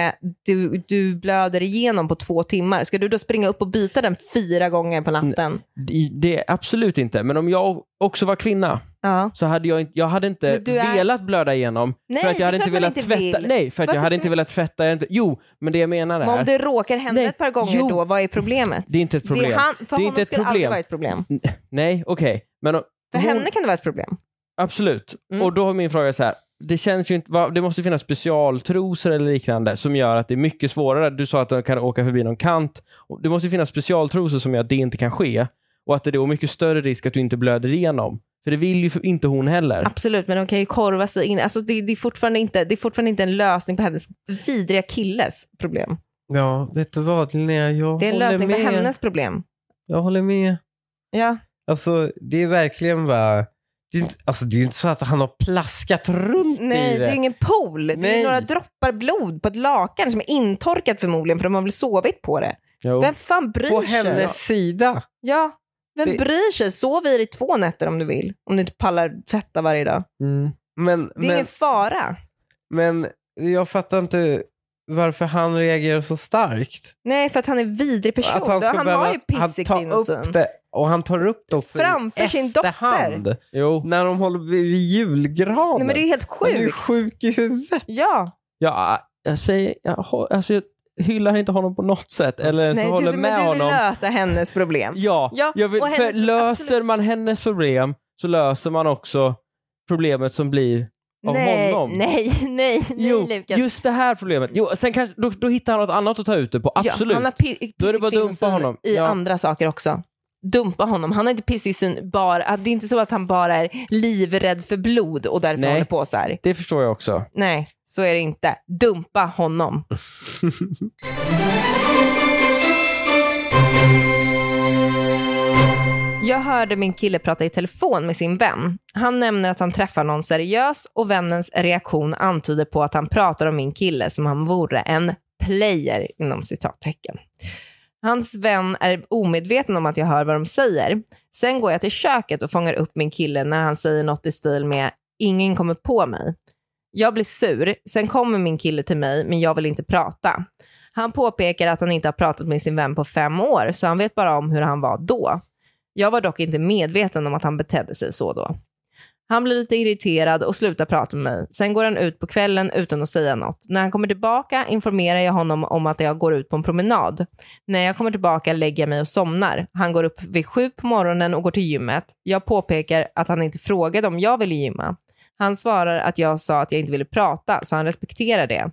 eh, du, du blöder igenom på två timmar. Ska du då springa upp och byta den fyra gånger på natten? I- Det är absolut inte. Men om jag också var kvinna Ja. så hade jag, inte- jag hade inte Men du är- velat blöda igenom. Nej, för att det är jag hade klart inte man velat inte tvätta. vill. Nej, för att Varför jag hade ska inte velat tvätta. Jag hade inte... Jo, men det jag menar Men är... om det råkar hända Nej, ett par gånger jo. då, vad är problemet? Det är inte ett problem. Det är han, för Det är honom inte ett skulle det aldrig problem. vara ett problem. Nej, okej. Men om- För hon- henne kan det vara ett problem. Absolut. Mm. Och då har min fråga så här. Det, känns ju inte, va- det måste finnas specialtrosor eller liknande som gör att det är mycket svårare. Du sa att de kan åka förbi någon kant. Och Det måste ju finnas specialtrosor som gör att det inte kan ske och att det då är mycket större risk att du inte blöder igenom. För det vill ju för- inte hon heller. Absolut, men de kan ju korva sig in. Alltså, det, det, är fortfarande inte, det är fortfarande inte en lösning på hennes vidriga killes problem. Ja, vet du vad Linnea? Jag Det är en håller lösning med. på hennes problem. Jag håller med. Ja. Alltså, det är verkligen bara... Det är inte, alltså, det är ju inte så att han har plaskat runt Nej, i det är det. ingen pool. Det är Nej. några droppar blod på ett lakan som är intorkat förmodligen för de har väl sovit på det. Jo. Vem fan bryr På sig? hennes sida. Ja, vem Det- bryr sig? Sov i dig två nätter om du vill. Om du inte pallar tvätta varje dag. Mm. Men, Det är men, ingen fara. men jag fattar inte varför han reagerar så starkt. Nej, för att han är en vidrig person. Att han, han ska han behöva, har ju han pissig tar kvinnosyn. upp det och han tar upp det också Framför i sin efterhand. Jo. När de håller vid vid julgranen. Nej, men det är ju helt han är ju sjukt. sjuk i huvudet. Ja, Ja, jag säger, jag, har- alltså, jag hyllar inte honom på något sätt. Eller ens Nej, håller du, med men du vill honom. lösa hennes problem. Ja, Ja, jag vill, och för hennes- löser absolut. man hennes problem så löser man också problemet som blir av nej, honom. nej, nej, Jo, nej, Lukas. just det här problemet. Jo, sen kanske, då, då hittar han något annat att ta ut det på, absolut. Ja, han har pi- Då är det bara att dumpa pissig kvinnosyn honom. i Ja. andra saker också. Dumpa honom. Han har inte pissig syn bara. Det är inte så att han bara är livrädd för blod och därför Nej. håller på så här. Det förstår jag också. Nej, så är det inte. Dumpa honom. Jag hörde min kille prata i telefon med sin vän. Han nämner att han träffar någon seriös och vännens reaktion antyder på att han pratar om min kille som om han vore en player inom citattecken. Hans vän är omedveten om att jag hör vad de säger. Sen går jag till köket och fångar upp min kille när han säger något i stil med “ingen kommer på mig”. Jag blir sur, sen kommer min kille till mig men jag vill inte prata. Han påpekar att han inte har pratat med sin vän på fem år så han vet bara om hur han var då. Jag var dock inte medveten om att han betedde sig så då. Han blir lite irriterad och slutar prata med mig. Sen går han ut på kvällen utan att säga något. När han kommer tillbaka informerar jag honom om att jag går ut på en promenad. När jag kommer tillbaka lägger jag mig och somnar. Han går upp vid sju på morgonen och går till gymmet. Jag påpekar att han inte frågade om jag ville gymma. Han svarar att jag sa att jag inte ville prata, så han respekterar det.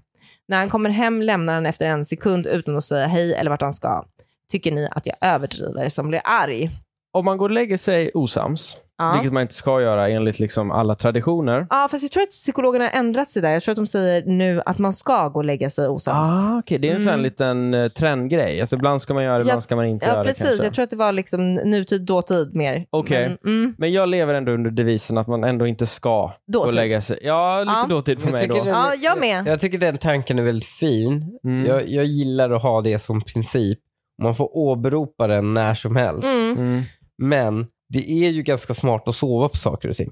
När han kommer hem lämnar han efter en sekund utan att säga hej eller vart han ska. Tycker ni att jag överdriver som blir arg? Om man går och lägger sig osams, Ja. vilket man inte ska göra enligt liksom alla traditioner. ja, fast jag tror att psykologerna har ändrat sig där. Jag tror att de säger nu att man ska gå och lägga sig osams. Ah, okay. Det är en sån här Mm. liten eh, trendgrej. Alltså, ibland ska man göra det, Ja, ibland ska man inte ja, göra precis. det. Kanske. Jag tror att det var liksom nutid, dåtid mer. Okej. Men, mm, Men jag lever ändå under devisen att man ändå inte ska gå och dåtid. lägga sig. Ja, lite Ja. dåtid för Jag mig tycker då. det- Ja, jag med. Jag tycker den tanken är väldigt fin. Mm. Jag, jag gillar att ha det som princip. Man får åberopa den när som helst. Mm. Mm. Men det är ju ganska smart att sova på saker och ting.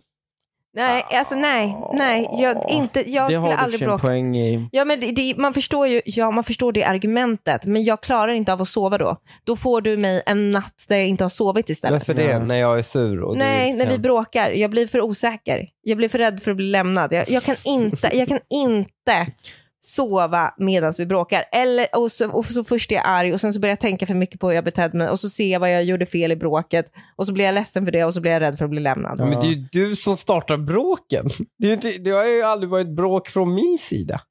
Nej, alltså nej, nej. Jag, inte, jag det skulle har du aldrig sin bråka. poäng i. Ja, men det, det, man, förstår ju, ja, man förstår det argumentet, men jag klarar inte av att sova då. Då får du mig en natt där jag inte har sovit istället. Varför det? Ja. När jag är sur. Och Nej, du, när vi bråkar. Jag blir för osäker. Jag blir för rädd för att bli lämnad. Jag, jag, kan, inte, jag kan inte sova medan vi bråkar. Eller, och, så, och så först är jag arg och sen så börjar jag tänka för mycket på hur jag betedde mig och så ser jag vad jag gjorde fel i bråket och så blir jag ledsen för det och så blir jag rädd för att bli lämnad. Ja, Men det är ju du som startar bråken. Det, är ju inte, det har ju aldrig varit bråk från min sida.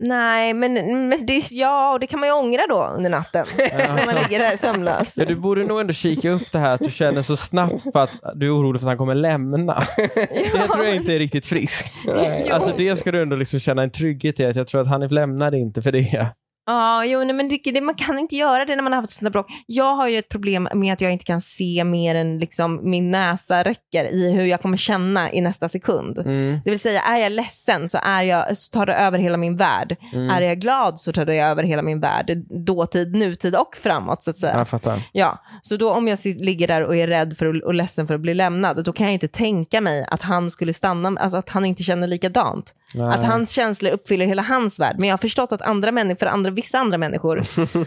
Nej, men, men det, ja, och det kan man ju ångra då under natten. när man ligger där sömnlös. Ja, du borde nog ändå kika upp det här att du känner så snabbt på att du är orolig för att han kommer lämna. Det tror jag inte är riktigt friskt. Jo. Alltså det ska du ändå liksom känna en trygghet i att jag tror att han lämnar inte för det. Ja, jo, nej, men det, det, man kan inte göra det när man har haft sådana bråk. Jag har ju ett problem med att jag inte kan se mer än liksom min näsa räcker i hur jag kommer känna i nästa sekund. Mm. Det vill säga, är jag ledsen så, är jag, så tar det över hela min värld. Mm. Är jag glad så tar det över hela min värld. Dåtid, nutid och framåt så att säga. Jag fattar. Ja, så då om jag sit- ligger där och är rädd för att, och ledsen för att bli lämnad, då kan jag inte tänka mig att han skulle stanna, alltså att han inte känner likadant. Nej. Att hans känslor uppfyller hela hans värld. Men jag har förstått att andra människor, för andra, vissa andra människor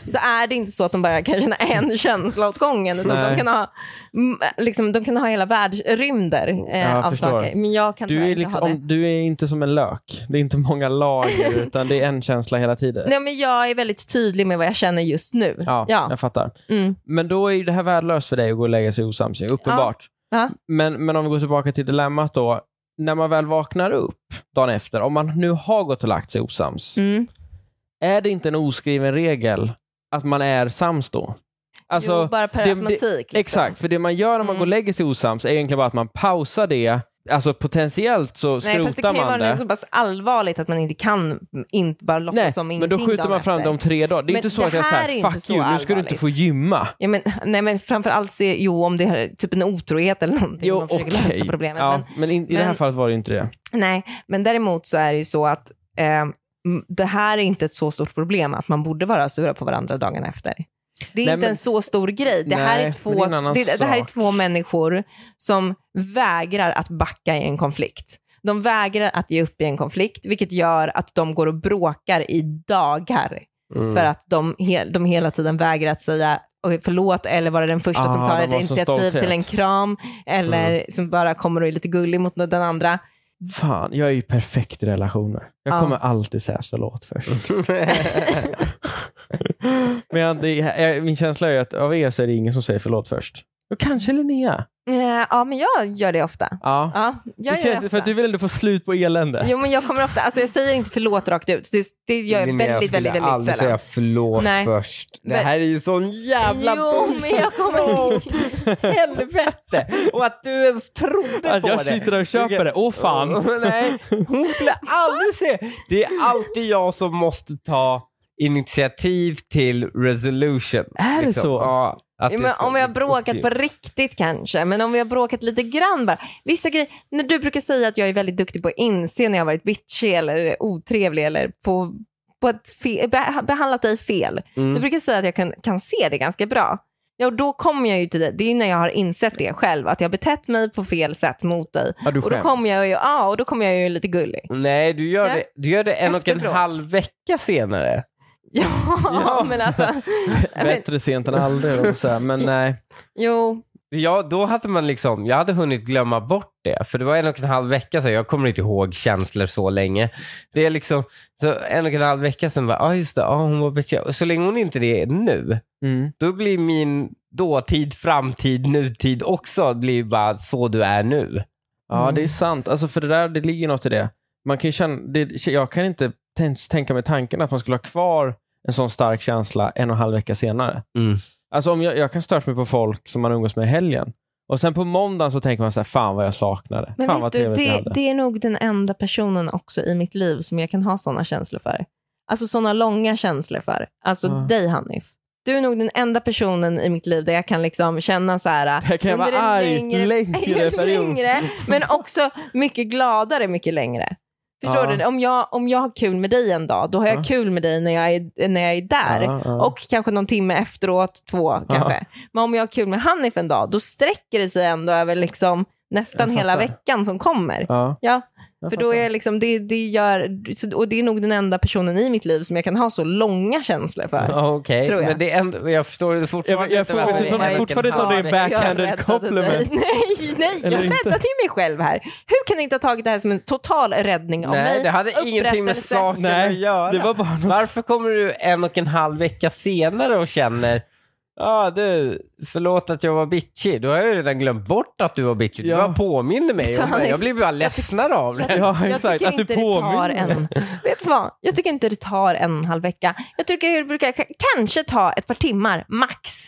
så är det inte så att de bara kan känna en känsla åt gången. Utan Nej. de kan, ha, mm, liksom, de kan ha hela världsrymder eh, jag av förstår. saker. Men jag kan tyvärr Du är, inte ha det. liksom, du är inte som en lök. Det är inte många lager utan det är en känsla hela tiden. Nej, men jag är väldigt tydlig med vad jag känner just nu. Ja, Ja. jag fattar. Mm. Men då är ju det här värdelöst för dig att gå och lägga sig osams ju, uppenbart. Ja. Men, men om vi går tillbaka till dilemmat då. När man väl vaknar upp dagen efter, om man nu har gått och lagt sig osams, Mm. är det inte en oskriven regel att man är sams då? Alltså, jo, bara per det- automatik. liksom. Exakt, för det man gör när man Mm. går och lägger sig osams är egentligen bara att man pausar det. Alltså potentiellt så Nej, fast det skrotar kan ju man vara något det. så pass allvarligt att man inte kan inte bara låtsas Nej, som men ingenting då skjuter dagen man fram efter. det om tre dagar. Det är Men inte så det att jag här är säger inte fuck så you, nu ska du inte allvarligt." få gymma. Ja, men, nej men framförallt så är, jo om det är typ en otrohet eller någonting. Jo, man försöker okej. lösa problemet. Ja, Men, men, in, i det här men- fallet var det ju inte det. Nej, men däremot så är det ju så att eh, m- det här är inte ett så stort problem att man borde vara sura på varandra dagen efter. Det är Nej, inte men- en så stor grej. Det, här Nej, är men det två, är en annan det, det här är sak. två människor som vägrar att backa i en konflikt. De vägrar att ge upp i en konflikt, vilket gör att de går och bråkar i dagar Mm. för att de, he- de hela tiden vägrar att säga "Oj, förlåt eller vara den första som Ah, tar de ett har sån initiativ stolthet. Mm. till en kram eller som bara kommer och är lite gullig mot den andra. Fan, jag är ju perfekt i relationer. Jag Ja. kommer alltid säga förlåt först. Men jag- det, jag, min känsla är ju att av er så är det ingen som säger förlåt först. Och kanske Linnea. Eh, Ja, men jag gör det ofta. Ja. Ja, jag det känns, gör det för ofta. att du vill ändå få slut på elände. Jo, men jag kommer ofta, alltså jag säger inte förlåt rakt ut. Det, det gör jag Linnea väldigt, skulle väldigt, väldigt aldrig sällan. säga förlåt Nej. först. Det Men- här är ju sån jävla Jo, men jag kommer... helvete! Och att du ens trodde Att på jag det. sitter och köper Vilken- det. Åh fan. Nej, hon skulle aldrig se. Det är alltid jag som måste ta initiativ till resolution. Liksom. Är det så? Ja, att det Ja, men ska om vi har bli bråkat uppgift. på riktigt kanske, men om vi har bråkat lite grann bara. Vissa grejer, när du brukar säga att jag är väldigt duktig på att inse när jag har varit bitchig eller otrevlig eller på, på ett fe- beh- behandlat dig fel. Mm. Du brukar säga att jag kan, kan se det ganska bra. Ja, och då kommer jag ju till dig. Det är ju när jag har insett det själv, att jag har betett mig på fel sätt mot dig. Ja, du Och då skäms. kommer jag ju, ja, och då kommer jag ju lite gullig. Nej, du gör, Nej. Det, du gör det en och en Efteråt. halv vecka senare. Ja, men alltså, men, Bättre sent än aldrig. Och så här, men nej. jo, Ja, då hade man liksom, jag hade hunnit glömma bort det. För det var en och en halv vecka sedan, jag kommer inte ihåg känslor så länge. Det är liksom, så en och en halv vecka sedan, bara, ah, just det, ah, hon var betjänt. Och Så länge hon inte det är nu, Mm. då blir min dåtid, framtid, nutid också blir bara så du är nu. Ja, Mm. det är sant. Alltså, för det där, det ligger något i det. Man kan ju känna, det, jag kan inte tän- tänka mig tanken att man skulle ha kvar en sån stark känsla en och en halv vecka senare. Mm. Alltså, om jag, jag kan störa mig på folk som man umgås med i helgen. Och sen på måndagen så tänker man så här, fan vad jag saknade. men fan vad vet du, trevligt jag det, hade. det är nog den enda personen också i mitt liv som jag kan ha sådana känslor för. Alltså sådana långa känslor för. Alltså Ja. dig Hanif. Du är nog den enda personen i mitt liv där jag kan liksom känna så här. Där kan jag under vara en arg längre period. längre, men också mycket gladare mycket längre. Förstår Ja. du? Om jag, om jag har kul med dig en dag, då har jag Ja. kul med dig när jag är, när jag är där. Ja, ja. Och kanske någon timme efteråt, två kanske. Men om jag har kul med Hanif en dag, då sträcker det sig ändå över liksom nästan Jag hela fattar. veckan som kommer. Ja, Ja, jag för då fattar. är liksom, det, det gör, så- och det är nog den enda personen i mitt liv som jag kan ha så långa känslor för. Ja, Okej, Tror jag. men det är ändå, jag förstår det fortfarande Jag- jag får- varför jag vet det är inte om- en och en fortfarande om det är halv back- vecka. Backhanded Jag räddade compliment. dig. Nej, nej, Eller jag inte? räddade ju mig själv här. Hur kan ni inte ha tagit det här som en total räddning av mig? Nej, det hade ingenting med Upprättelse. saken att Nej, göra. det var bara något... Varför kommer du en och en halv vecka senare och känner Ja ah, du, förlåt att jag var bitchig. Då har jag ju redan glömt bort att du var bitchig. Ja. Du bara påminner mig om det. Jag blir bara ledsnare av det. Ja, Jag exakt. tycker Att du inte det tar påminner. en, vet du vad? Jag tycker inte det tar en och en halv vecka. Jag tycker det brukar k- kanske ta ett par timmar, max.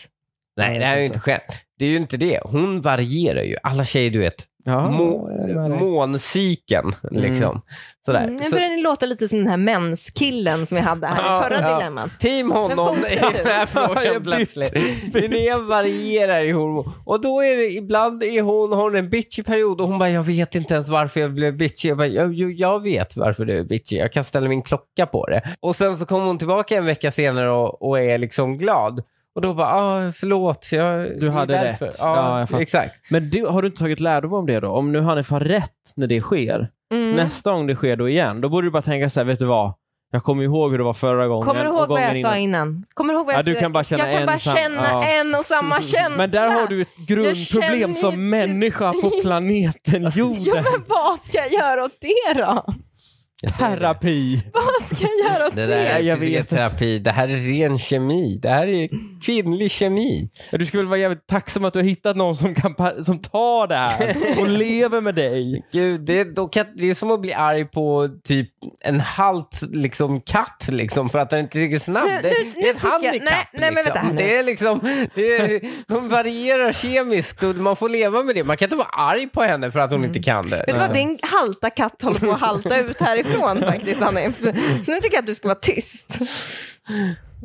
Nej, det här är ju inte skämt. Det är ju inte det. Hon varierar ju. Alla tjejer du vet, Ja, må, det var det. måncykeln liksom. Sådär. Mm, nu Så, börjar ni låta lite som den här menskillen som vi hade här Ja, i förra ja. dilemmat. team honom Men i fortsätt den här du. Ja, jag frågan bytte, plötsligt. bytte. Linnea varierar i hormon. Och då är det, ibland är hon, har hon en bitchig period och hon bara, jag vet inte ens varför jag blev bitchig. Jag, bara, jag, jag- jag vet varför du är bitchig, jag kan ställa min klocka på det. Och sen så kommer hon tillbaka en vecka senare och, och är liksom glad. Och då bara, ah, förlåt. Jag, det är hade därför." rätt. Ja, Ja, jag fattar. exakt. Men du, har du inte tagit lärdom om det då? Om nu Hanif har rätt när det sker, Mm. nästa gång det sker då igen, då borde du bara tänka så här, vet du vad? Jag kommer ihåg hur det var förra gången. Kommer du och ihåg vad gången jag sa innan? Kommer du ihåg vad Ja, jag du sa? kan bara känna jag kan en bara och samma- känna ja. en och samma känsla. Men där har du ett känner ju grundproblem inte- som människa på planeten Ja, jorden. men vad ska jag göra åt det då? Jag säger det. Terapi. Vad ska jag göra åt Det det? där är Jag vet fysioterapi. Det här är ren kemi. Det här är kvinnlig kemi. Du skulle väl vara jävligt tacksam att du har hittat någon som, kan, pa- som tar det här och lever med dig. Gud, det, då kan, det är som att bli arg på typ en halt liksom, katt liksom, för att den inte är tillräckligt snabb. Nu- Det, nu- det nu är ett tycker jag- handikapp. nej, nej, men vänta liksom. här nu. det är liksom, det är, de varierar kemiskt och man får leva med det. Man kan inte vara arg på henne för att hon inte kan det. Vet du vad, din halta katt håller på att halta ut härifrån faktiskt, Hanif. Så nu tycker jag att du ska vara tyst.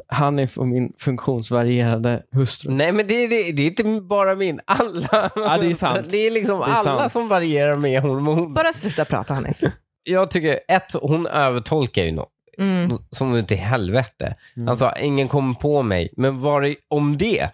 Han är för min funktionsvarierade hustru. Nej men det, det, det är inte bara min. Alla. Ja, det är sant. Det är liksom Det är alla sant. som varierar med hormon. Bara sluta prata, Hanif. Jag tycker ett, hon övertolkar ju något. Mm. som ut i helvete. Mm. Han sa, ingen kom på mig. Men var det om det?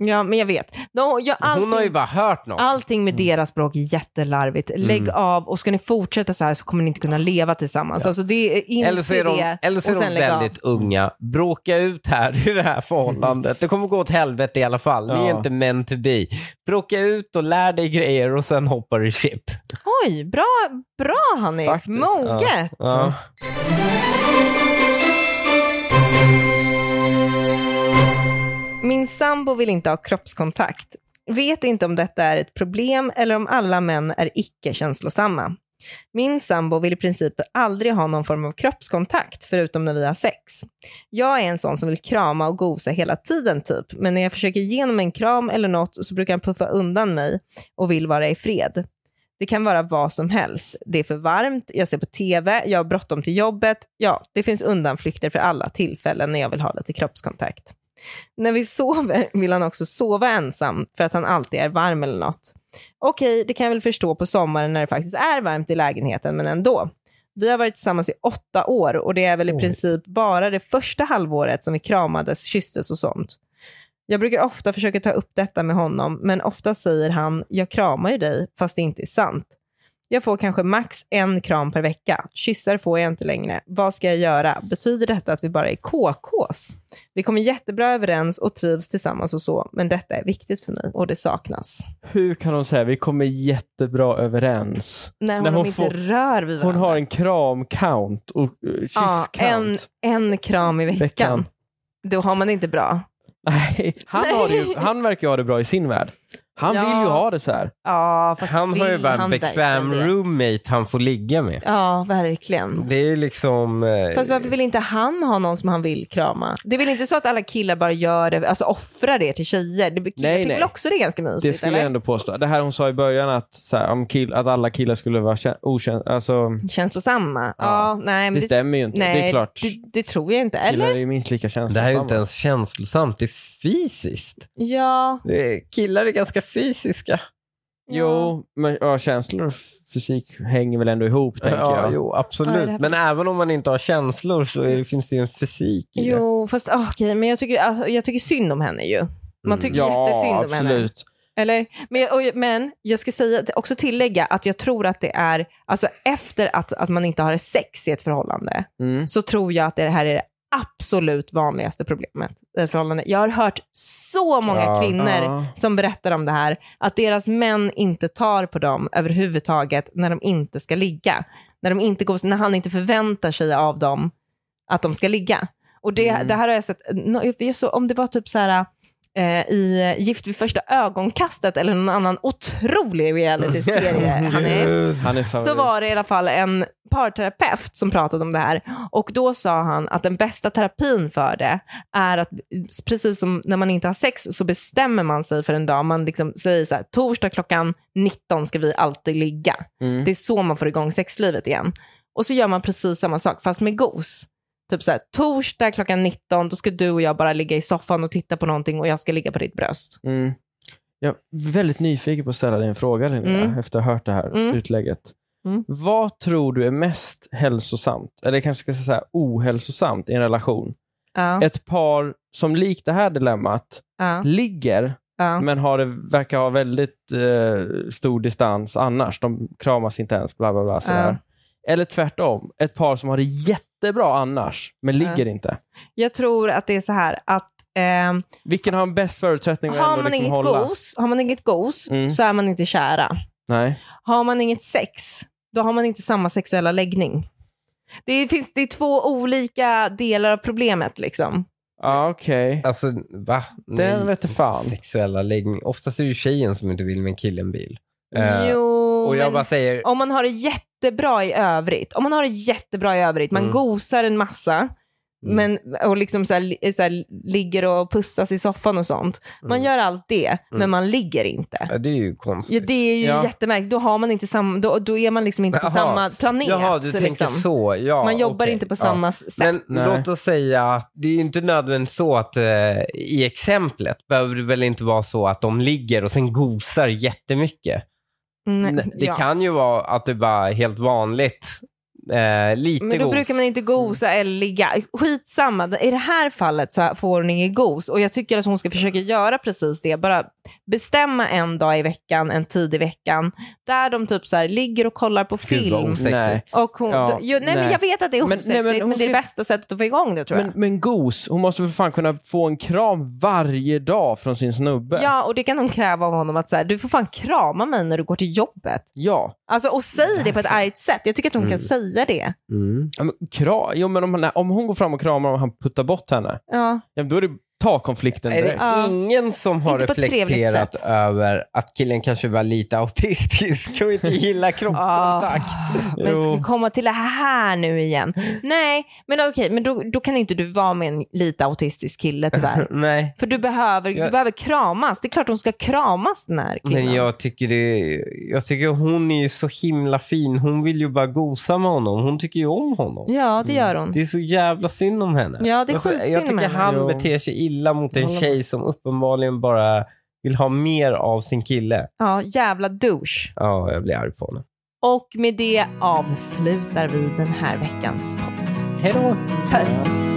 Ja, men jag vet. De, jag, allting, Hon har ju Mm. bara hört något. allting med deras språk är jättelarvigt. Lägg Mm. av och ska ni fortsätta så här så kommer ni inte kunna leva tillsammans. Alltså det är Eller så är de, det eller så är och sen de lägg av. väldigt unga. Bråka ut här i det här förhållandet. Det kommer gå åt helvete i alla fall. Ni är Ja. inte meant to be. Bråka ut och lär dig grejer och sen hoppar du chip. Oj, bra, bra Hanif. Faktiskt, Moget. Ja. Min sambo vill inte ha kroppskontakt. Vet inte om detta är ett problem eller om alla män är icke känslosamma. Min sambo vill i princip aldrig ha någon form av kroppskontakt förutom när vi har sex. Jag är en sån som vill krama och gosa hela tiden typ, men när jag försöker ge honom en kram eller något så brukar han puffa undan mig och vill vara i fred. Det kan vara vad som helst. Det är för varmt, jag ser på TV, jag har bråttom till jobbet. Ja, det finns undanflykter för alla tillfällen när jag vill ha lite kroppskontakt. När vi sover vill han också sova ensam för att han alltid är varm eller något. Okej, det kan jag väl förstå på sommaren när det faktiskt är varmt i lägenheten, men ändå. Vi har varit tillsammans i åtta år och det är väl i princip bara det första halvåret som vi kramades, kysstes och sånt. Jag brukar ofta försöka ta upp detta med honom, men ofta säger han “jag kramar ju dig” fast det inte är sant. Jag får kanske max en kram per vecka. Kyssar får jag inte längre. Vad ska jag göra? Betyder detta att vi bara är KKs? Vi kommer jättebra överens och trivs tillsammans och så, men detta är viktigt för mig och det saknas. Hur kan hon säga vi kommer jättebra överens? När När hon, hon inte får- rör vid Hon varandra. har en kram-count och eh, ja, kyss-count. en, en kram i veckan. Veckan. Då har man det inte bra. Nej, han, Nej. Har det ju, han verkar ju ha det bra i sin värld. Han Ja. vill ju ha det så här. Ja, fast Han har ju vill bara en han bekväm verkligen det? roommate han får ligga med. Ja, verkligen. Det är liksom... eh, Fast varför vill inte han ha någon som han vill krama? Det är väl inte så att alla killar bara gör det, alltså offrar det till tjejer? Det, killar Nej, tycker nej. väl också det är ganska mysigt? Det skulle eller? jag ändå påstå. Det här hon sa i början att, så här, om kill, att alla killar skulle vara kä- okänd, alltså, Känslosamma? Ja, Ja. nej, men det det, stämmer ju inte. nej, det är klart. Det, det tror jag inte. Killar Eller? är ju minst lika Det känslosamma. här är ju inte ens känslosamt, det är fysiskt. Ja. Det är, killar är ganska fysiska. Jo, men ja, känslor och f- fysik hänger väl ändå ihop, tänker ja, jag. Jo, Ja, absolut. det här- Men även om man inte har känslor så är det, finns det ju en fysik i det. Jo, fast ah, okej, men jag tycker, alltså, jag tycker synd om henne ju. Man tycker jättesynd om Ja, henne. absolut. Eller? Men, jag- och, men jag ska säga, också tillägga att jag tror att det är, alltså efter att, att man inte har sex i ett förhållande, Mm. så tror jag att det här är det absolut vanligaste problemet i ett förhållande. Jag har hört så många Ja. kvinnor Ja. som berättar om det här, att deras män inte tar på dem överhuvudtaget när de inte ska ligga. När, de inte går, när han inte förväntar sig av dem att de ska ligga. Och det, det här har jag sett, nå- jag såg- om det var typ så här eh, i Gift vid första ögonkastet eller någon annan otrolig realityserie, Hanif Eh, Han är favorit. så var det i alla fall en parterapeut som pratade om det här och då sa han att den bästa terapin för det är att precis som när man inte har sex så bestämmer man sig för en dag. Man liksom säger så här, torsdag klockan 19 ska vi alltid ligga. Mm. Det är så man får igång sexlivet igen. Och så gör man precis samma sak fast med gos. Typ så här, torsdag klockan 19 då ska du och jag bara ligga i soffan och titta på någonting och jag ska ligga på ditt bröst. Mm. Jag är väldigt nyfiken på att ställa dig en fråga Linnea, Mm. efter att ha hört det här Mm. utlägget. Mm. Vad tror du är mest hälsosamt, eller jag kanske ska säga så här, ohälsosamt i en relation? Ja, Ett par som likt det här dilemmat ja, ligger, ja. men har det, verkar ha väldigt eh, stor distans annars. De kramas inte ens, bla bla bla. Sådär. Eller tvärtom, ett par som har det jättebra annars, men Ja. ligger inte. Jag tror att det är så här att ehm, Vilken har bäst förutsättning att Har ändå man, liksom inget hålla? gos, har man inget gos Mm. så är man inte kära. Nej. Har man inget sex, då har man inte samma sexuella läggning. Det, finns, det är två olika delar av problemet liksom. Ja, okej. Alltså, va? Den Nej, vete fan. Sexuella läggning. Oftast är det ju tjejen som inte vill, men killen vill. Eh, jo, och jag Oh, men bara säger, om man har det jättebra i övrigt, om man har det jättebra i övrigt, man Mm. gosar en massa men, och liksom så här, li- så här, ligger och pussas i soffan och sånt. Man Mm. gör allt det, men Mm. man ligger inte. ja, det är ju konstigt. Ja, det är ju Ja. jättemärkligt. Då, har man inte sam, då, då är man liksom inte på Jaha. samma planet. Jaha, du tänker liksom. så. Ja, Man jobbar okej. inte på Ja. samma sätt. Men Nej. låt oss säga att det är ju inte nödvändigt så att eh, i exemplet behöver det väl inte vara så att de ligger och sen gosar jättemycket. Nej, Det Mm, ja. kan ju vara att det bara är helt vanligt, eh, lite Men då gos. Mm. brukar man inte gosa eller ligga. Skitsamma, i det här fallet så får hon ingen gos och jag tycker att hon ska försöka göra precis det. Bara bestämma en dag i veckan, en tid i veckan, där de typ så här ligger och kollar på Gud vad film. osexigt. Nej. Och hon, Ja, jo, nej, men nej. jag vet att det är Men- nej, osexigt, men, men hon det är det ska- bästa sättet att få igång det tror jag. Men, men Gos, hon måste väl fan kunna få en kram varje dag från sin snubbe? Ja, och det kan hon kräva av honom att så här, du får fan krama mig när du går till jobbet. ja. Alltså, och säg det på ett argt sätt. Jag tycker att hon kan säga det. Mm. Ja, Men, kra, jo, men om, han- om hon går fram och kramar och han puttar bort henne, Ja. ja, men då är det ta konflikten Är det direkt. Ja. ingen som har Inte på ett trevligt reflekterat sätt. över att killen kanske var lite autistisk och inte gillar kroppskontakt? Ah, men Jo. ska vi komma till det här nu igen? Nej, men okej, men då, då kan inte du vara med en lite autistisk kille tyvärr. Nej. För du behöver, du Jag- behöver kramas. Det är klart hon ska kramas den här kvinnan. Men jag tycker, det, jag tycker hon är ju så himla fin. Hon vill ju bara gosa med honom. Hon tycker ju om honom. Ja, det gör hon. Mm. Det är så jävla synd om henne. Ja, det är jag, skitsynd om jag tycker henne. han Jo. beter sig illa mot en Håller tjej som uppenbarligen bara vill ha mer av sin kille. Ja, jävla douche. Ja, jag blir arg på honom. Och med det avslutar vi den här veckans podd. Hej då! Puss!